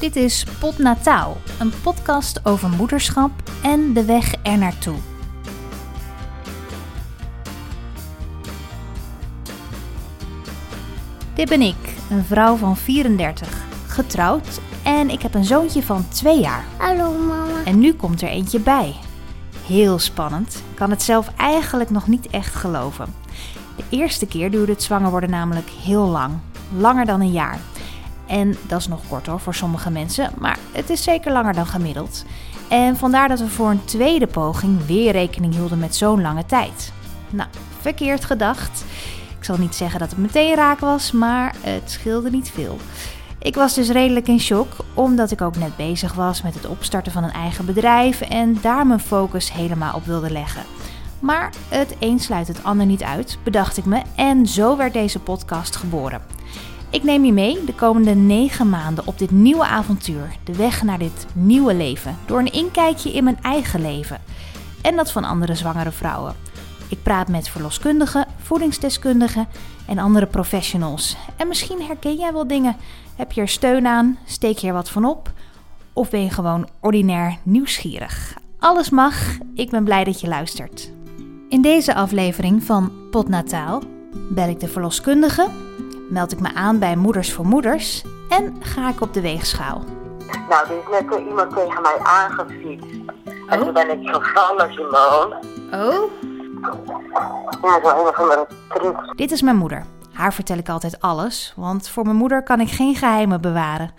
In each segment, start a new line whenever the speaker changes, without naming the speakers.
Dit is Podnataal, een podcast over moederschap en de weg ernaartoe. Dit ben ik, een vrouw van 34, getrouwd en ik heb een zoontje van 2 jaar.
Hallo mama.
En nu komt er eentje bij. Heel spannend. Ik kan het zelf eigenlijk nog niet echt geloven. De eerste keer duurde het zwanger worden namelijk heel lang. Langer dan een jaar. En dat is nog kort hoor voor sommige mensen, maar het is zeker langer dan gemiddeld. En vandaar dat we voor een tweede poging weer rekening hielden met zo'n lange tijd. Nou, verkeerd gedacht. Ik zal niet zeggen dat het meteen raak was, maar het scheelde niet veel. Ik was dus redelijk in shock, omdat ik ook net bezig was met het opstarten van een eigen bedrijf en daar mijn focus helemaal op wilde leggen. Maar het een sluit het ander niet uit, bedacht ik me, en zo werd deze podcast geboren. Ik neem je mee de komende 9 maanden op dit nieuwe avontuur, de weg naar dit nieuwe leven, door een inkijkje in mijn eigen leven en dat van andere zwangere vrouwen. Ik praat met verloskundigen, voedingsdeskundigen en andere professionals. En misschien herken jij wel dingen. Heb je er steun aan? Steek je er wat van op? Of ben je gewoon ordinair nieuwsgierig? Alles mag. Ik ben blij dat je luistert. In deze aflevering van Potnataal bel ik de verloskundige, meld ik me aan bij Moeders voor Moeders en ga ik op de weegschaal.
Nou, er is net eh, iemand tegen mij aangefietst. En
Oh.
toen ben ik gevallen, Simone.
Oh?
Ja, zo een van mijn trucs.
Dit is mijn moeder. Haar vertel ik altijd alles, want voor mijn moeder kan ik geen geheimen bewaren.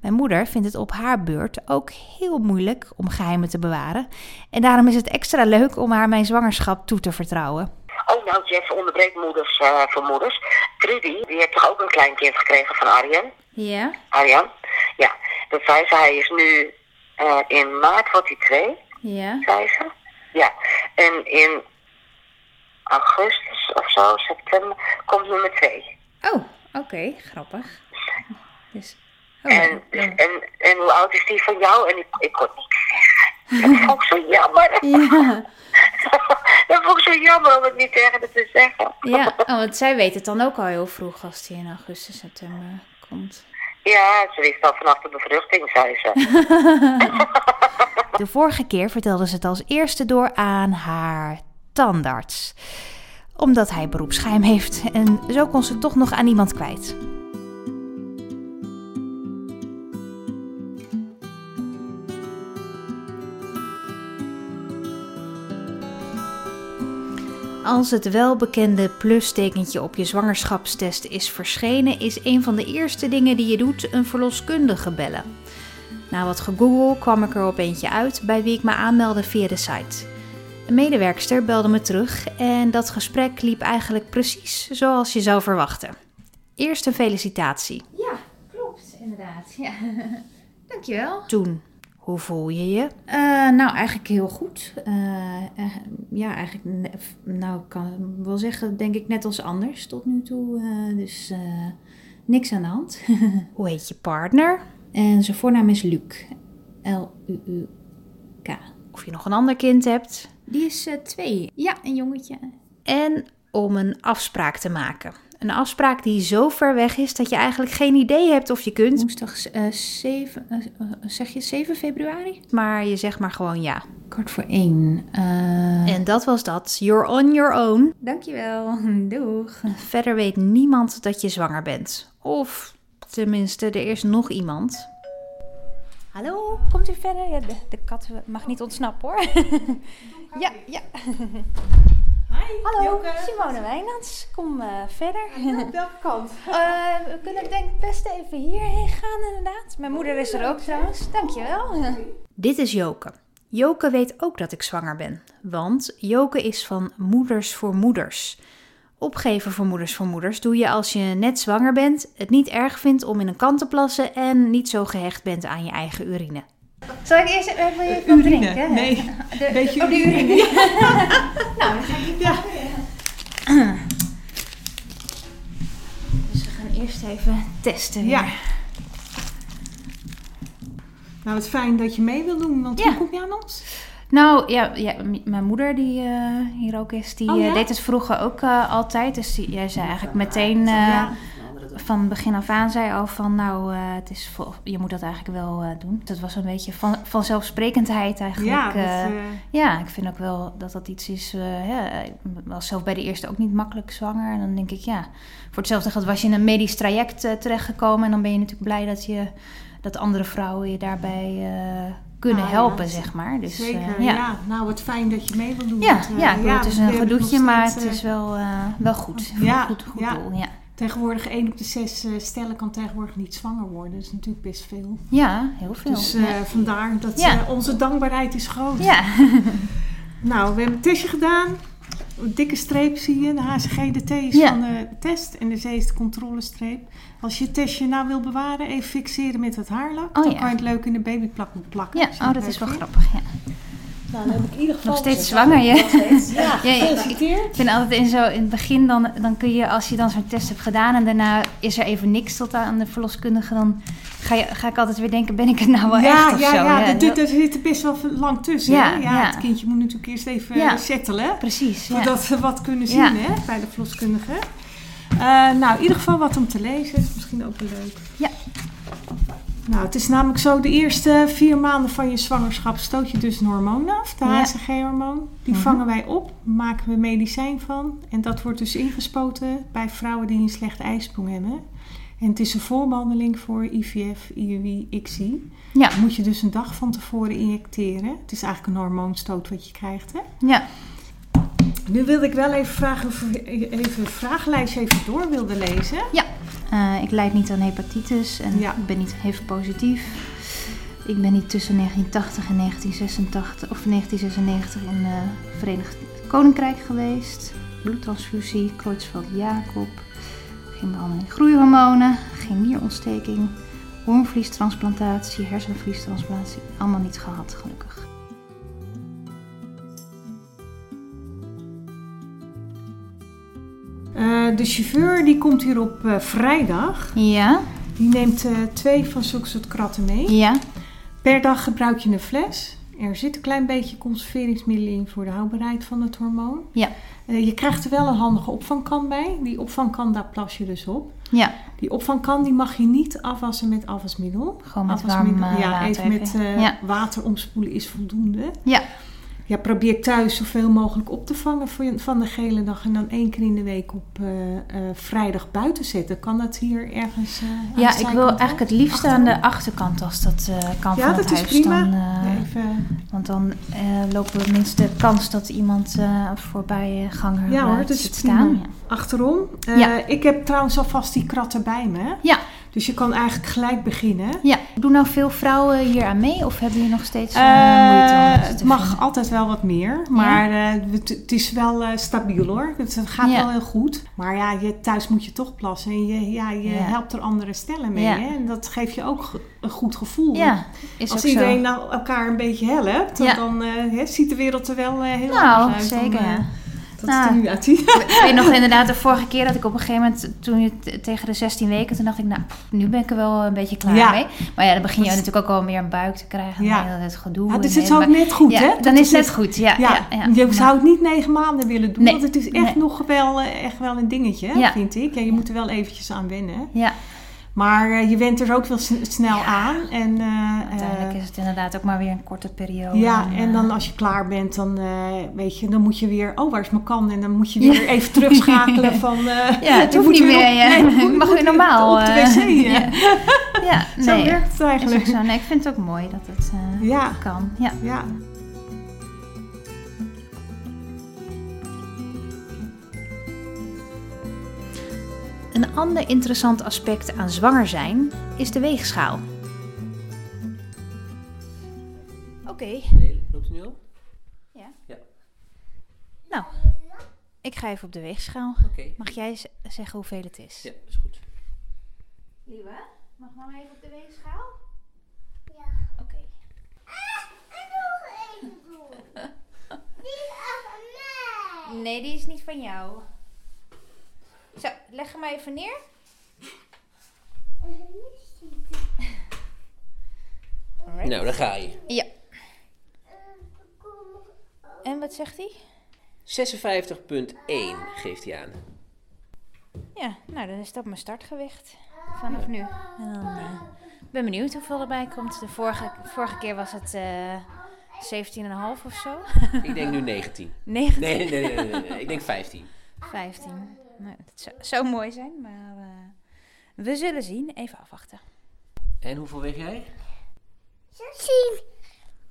Mijn moeder vindt het op haar beurt ook heel moeilijk om geheimen te bewaren. En daarom is het extra leuk om haar mijn zwangerschap toe te vertrouwen.
Oh, nou, Jeff onderbreekt moeders eh, voor moeders. Trudy, die heeft toch ook een kleinkind gekregen van Arjen?
Ja?
Arjan? Ja, dat zei ze. Hij is nu eh, in maart wordt hij twee,
Ja.
zei ze. Ja, en in augustus of zo, september, komt nummer twee.
Oh, oké, grappig. Dus,
En, eh, en, en hoe oud is die van jou? En ik, ik kon niks zeggen. Dat vond ik zo jammer.
Ja,
dat vond ik zo jammer om het niet tegen haar te zeggen.
ja. Oh, want zij weet het dan ook al heel vroeg als die in augustus, september komt.
Ja, ze wist al vanaf de bevruchting, zei ze.
De vorige keer vertelde ze het als eerste door aan haar tandarts. Omdat hij beroepsgeheim heeft en zo kon ze het toch nog aan iemand kwijt. Als het welbekende plustekentje op je zwangerschapstest is verschenen, is een van de eerste dingen die je doet een verloskundige bellen. Na wat gegoogel kwam ik er op eentje uit bij wie ik me aanmeldde via de site. Een medewerkster belde me terug en dat gesprek liep eigenlijk precies zoals je zou verwachten. Eerst een felicitatie.
Ja, klopt, inderdaad. Ja. Dankjewel.
Toen, hoe voel je je?
Eh, nou, eigenlijk heel goed. Eh, eh, ja, eigenlijk, ne- f- nou, ik kan wel zeggen, denk ik net als anders tot nu toe. Eh, dus eh, niks aan de hand.
Hoe heet je partner?
en zijn voornaam is Luc. L-U-U-K.
Of je nog een ander kind hebt?
Die is eh, twee. Ja, een jongetje.
En om een afspraak te maken. Een afspraak die zo ver weg is dat je eigenlijk geen idee hebt of je kunt,
Woensdag eh 7, eh, eh, zeg je 7 februari?
maar je zegt maar gewoon ja.
Kwart voor één. Eh
En dat was dat. You're on your own.
Dankjewel. Doeg.
Verder weet niemand dat je zwanger bent. Of tenminste, er is nog iemand. Hallo, komt u verder? Ja, de, de kat mag niet ontsnappen hoor. ja, ja. Hallo, Simone Wijnands. Kom eh, verder.
Welke kant?
Eh, we kunnen denk ik best even hierheen gaan inderdaad. Mijn moeder is er ook trouwens. Dankjewel. Dit is Joke. Joke weet ook dat ik zwanger ben. Want Joke is van Moeders voor Moeders. Opgeven voor Moeders voor Moeders doe je als je net zwanger bent, het niet erg vindt om in een kant te plassen en niet zo gehecht bent aan je eigen urine. Eh, Zal ik eerst even je van drinken?
Nee,
De-
beetje
oh, de
urine.
urine. Nou, Dus we gaan eerst even testen.
ja. Nou, het is fijn dat je mee wil doen, want
Ja.
hoe kom je aan ons?
Nou ja, ja m- mijn moeder die eh, hier ook is, die
Oh, ja?
eh, deed het vroeger ook eh, altijd. Dus die, jij zei eigenlijk meteen, eh,
van begin af aan zei al van, nou, eh, het is vol- je moet dat eigenlijk wel eh, doen. Dat was een beetje van, vanzelfsprekendheid eigenlijk.
Ja, dat,
eh,
eh,
ja, ik vind ook wel dat dat iets is. eh hè, ik was zelf bij de eerste ook niet makkelijk zwanger. En dan denk ik, ja, voor hetzelfde geld was je in een medisch traject eh, terechtgekomen. En dan ben je natuurlijk blij dat, je, dat andere vrouwen je daarbij eh, kunnen
Ah, ja.
helpen, zeg maar. Dus, eh,
zeker, ja.
ja. Ja,
Nou, wat fijn dat je mee wil doen.
ja,
want, eh,
ik bedoel, het is
dat
een
heb ik nog
gedoetje, maar
steeds,
het
eh,
is wel, eh, wel goed.
Ja,
goed, goed
ja.
doel, ja.
Tegenwoordig één op de zes eh, stellen kan tegenwoordig niet zwanger worden. Dat is natuurlijk best veel.
Ja, heel veel.
Dus eh, vandaar dat
Ja.
eh, onze dankbaarheid is groot.
ja.
Nou, we hebben een testje gedaan. Een dikke streep zie je. De HCG-DT is
Ja.
van de test en de C is de controlestreep. Als je het testje nou wil bewaren, even fixeren met het haarlak.
Oh,
dan
ja.
kan je het leuk in de babyplak plakken.
ja,
Als je
oh,
het
dat
leuk
is wel
vindt.
grappig. Ja.
Nou, dan heb ik in ieder geval...
Nog steeds
gezegd,
zwanger,
nou,
je.
nog steeds. Ja,
Ja, ik-
gefeliciteerd.
Ik vind altijd in, zo, in het begin, dan, dan kun je, als je dan zo'n test hebt gedaan en daarna is er even niks tot aan de verloskundige, dan ga, je, ga ik altijd weer denken, ben ik het nou wel
Ja,
echt of
ja,
zo?
ja, dat- dat-
heel-
daar zit er best wel lang tussen.
Ja,
hè?
ja.
Het kindje moet natuurlijk eerst even
Ja.
eh, settelen.
precies. Ja.
Voordat we wat kunnen zien
Ja.
hè, bij de verloskundige. Eh, nou, in ieder geval wat om te lezen. Is misschien ook wel leuk.
Ja.
Nou, het is namelijk zo, de eerste vier maanden van je zwangerschap stoot je dus een hormoon af, de
Ja.
HCG-hormoon. Die
Mhm.
vangen wij op, maken we medicijn van. En dat wordt dus ingespoten bij vrouwen die een slechte ijsprong hebben. En het is een voorbehandeling voor IVF, IUI, ICSI.
Ja.
Moet je dus een dag van tevoren injecteren. Het is eigenlijk een hormoonstoot wat je krijgt, hè?
ja.
Nu wilde ik wel even vragen of u even een vragenlijstje even door wilde lezen.
Eh, ik lijd niet aan hepatitis en
Ja.
ik ben niet HIV positief. Ik ben niet tussen 1980 en 1986 of 1996 in het Verenigd Koninkrijk geweest. Bloedtransfusie, Kreutzfeldt-Jacob, geen behandeling groeihormonen, geen nierontsteking, hoornvliestransplantatie, hersenvliestransplantatie, allemaal niet gehad gelukkig.
Eh, de chauffeur die komt hier op eh, vrijdag.
Ja,
Die neemt eh, twee van zulke soort kratten mee.
ja,
Per dag gebruik je een fles. Er zit een klein beetje conserveringsmiddelen in voor de houdbaarheid van het hormoon.
Ja.
Eh, je krijgt er wel een handige opvangkan bij. Die opvangkan, daar plas je dus op.
ja,
Die opvangkan die mag je niet afwassen met afwasmiddel.
gewoon met warm
Afwasmiddel,
eh,
ja,
water.
even met eh,
ja.
water omspoelen is voldoende.
Ja.
Ja, probeer thuis zoveel mogelijk op te vangen van- van de gele dag. En dan één keer in de week op eh, eh, vrijdag buiten zetten. Kan dat hier ergens? eh, aan de
Ja, ik
zijkant
wil
ook?
eigenlijk het liefst aan
Achterom?
de achterkant als dat eh, kan
Ja,
van
dat
het
is
huis.
prima.
Dan, eh,
Ja, even,
Want dan eh, lopen we minst de kans dat iemand eh voorbij ganger eh,
Ja hoor, dat is
zit
prima.
staan. Ja.
achterom. Eh,
Ja.
Ik heb trouwens alvast die kratten bij me.
Ja.
Dus je kan eigenlijk gelijk beginnen.
ja, doen nou veel vrouwen hier aan mee of hebben jullie nog steeds eh, moeite om
Eh,
dat
het
te
mag
vinden?
altijd wel wat meer, maar eh, het, het is wel eh, stabiel hoor. Het, het gaat
Ja.
wel heel goed. Maar ja, je, thuis moet je toch plassen en je, ja, je
Ja.
helpt er andere stellen mee.
Ja.
Hè? En dat geeft je ook ge- een goed gevoel.
Ja, is
Als
ook
iedereen
zo.
nou elkaar een beetje helpt,
Ja.
dan eh, hè, ziet de wereld er wel eh, heel
Nou,
anders uit. dan,
zeker.
eh,
ja.
dat
Nou.
het er nu uitziet.
Ik weet nog inderdaad de vorige keer dat ik op een gegeven moment, toen je t- tegen de 16 weken, toen dacht ik, nou, pff, nu ben ik er wel een beetje klaar
Ja.
mee. Maar ja, dan begin je
Dat is-
natuurlijk ook al meer een buik te krijgen.
Ja.
En heel het gedoe.
Ja,
en
dus het
heel-
is ook
maar-
net goed,
ja,
hè?
Dan
Dat
is het
het-
goed, ja.
Ja,
ja,
je
Maar-
zou het niet negen maanden willen doen,
Nee.
want het is echt
Nee.
nog wel, eh, echt wel een dingetje,
Ja.
vind ik. Ja, je moet er wel eventjes aan wennen.
Ja,
Maar eh, je went er ook wel s- snel aan. En, eh,
uiteindelijk
eh,
is het inderdaad ook maar weer een korte periode.
ja, en dan
eh,
als je klaar bent, dan, eh, weet je, dan moet je weer... Oh, waar is mijn kan? En dan moet je weer even terugschakelen van... eh,
Ja, het
ik
hoeft
moet
niet
weer
meer,
op-
ja.
nee, ik moet-
Ik mag
moet
weer normaal,
Op de
eh.
wc, eh.
Ja. ja,
Zo
nee.
werkt het
Is ook
eigenlijk.
zo. Nee, ik vind het ook mooi dat het eh,
Ja,
kan. Ja.
ja.
Een ander interessant aspect aan zwanger zijn is de weegschaal. Oké,
Nee, loopt het nu al?
Nou, ik ga even op de weegschaal.
Oké.
Mag jij z- zeggen hoeveel het is?
Ja, is goed.
Lieve, mag mama even op de weegschaal? Ja. Oké. Nee, die is niet van jou. Zo, leg hem maar even neer. Alright.
Nou, daar ga je.
En wat zegt hij?
56.1 geeft hij aan.
Ja,
Ja, nou dan is dat mijn startgewicht vanaf nu. En dan eh, ik ben benieuwd hoeveel erbij komt. De vorige, vorige keer was het eh 17,5 of zo.
Ik denk nu 19.
9,
Nee, nee, nee, nee, nee, nee. Ik denk 15.
15. Nou, dat zou, zou mooi zijn, maar eh, we zullen zien. Even afwachten.
En hoeveel weeg jij?
Zien.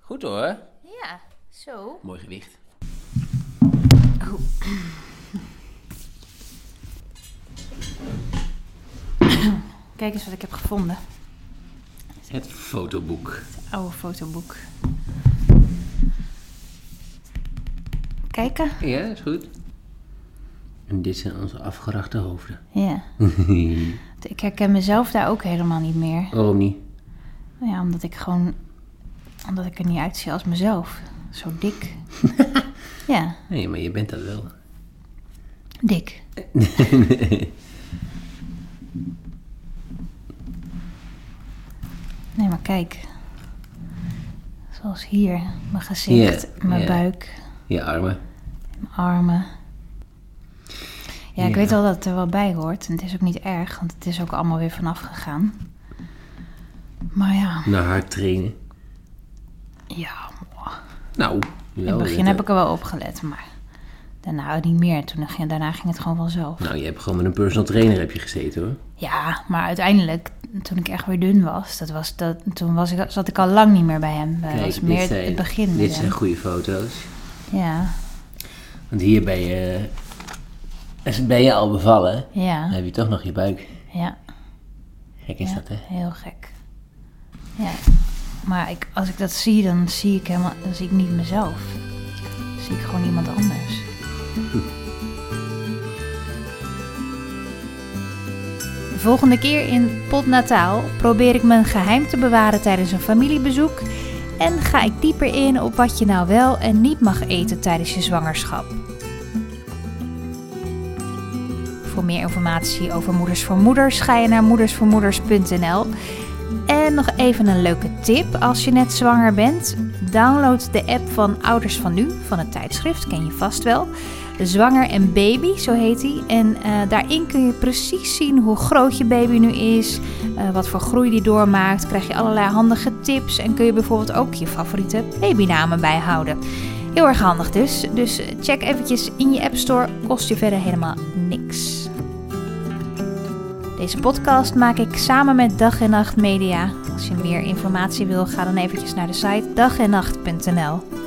Goed hoor.
Ja, zo.
Mooi gewicht.
Kijk eens wat ik heb gevonden.
Het fotoboek.
Het oude fotoboek. Kijken?
Ja, is goed. En dit zijn onze afgerachte hoofden.
Ja. ik herken mezelf daar ook helemaal niet meer.
Waarom niet?
Ja, omdat ik gewoon... Omdat ik er niet uitzie als mezelf. Zo dik. ja,
Nee, maar je bent dat wel.
dik. Nee, maar kijk. Zoals hier. Mijn gezicht,
Ja,
mijn
ja.
buik,
Je armen.
mijn armen. Ja, ik
Ja.
weet wel dat het er wel bij hoort. En het is ook niet erg, want het is ook allemaal weer vanaf gegaan. Maar ja,
Naar hard trainen.
ja.
Nou,
In het begin heb ik er wel op gelet, maar daarna niet meer. Toen ging, daarna ging het gewoon vanzelf.
Nou, je hebt gewoon met een personal trainer heb je gezeten hoor.
Ja, maar uiteindelijk, toen ik echt weer dun was, dat was dat, toen was ik, zat ik al lang niet meer bij hem. Dat was
dit
meer het-
zijn-
het begin. met
Dit
hem.
zijn goede foto's.
Ja,
Want hier ben je, eh, als- ben je al bevallen. Dan
ja,
heb je toch nog je buik.
ja.
Gek is
ja,
dat hè?
Heel gek. Ja. Maar ik, als ik dat zie, dan zie ik helemaal, dan zie ik niet mezelf. Dan zie ik gewoon iemand anders.
Hm.
De volgende keer in Podnataal probeer ik mijn geheim te bewaren tijdens een familiebezoek en ga ik dieper in op wat je nou wel en niet mag eten tijdens je zwangerschap. Voor meer informatie over Moeders voor Moeders ga je naar moedersvoormoeders.nl. En nog even een leuke tip als je net zwanger bent. Download de app van Ouders van Nu van het tijdschrift, ken je vast wel. Zwanger en Baby, zo heet die. En eh, daarin kun je precies zien hoe groot je baby nu is, eh, wat voor groei die doormaakt. Krijg je allerlei handige tips en kun je bijvoorbeeld ook je favoriete babynamen bijhouden. Heel erg handig dus. Dus check eventjes in je App Store, kost je verder helemaal niks. Deze podcast maak ik samen met Dag en Nacht Media. Als je meer informatie wil, ga dan eventjes naar de site dagennacht.nl.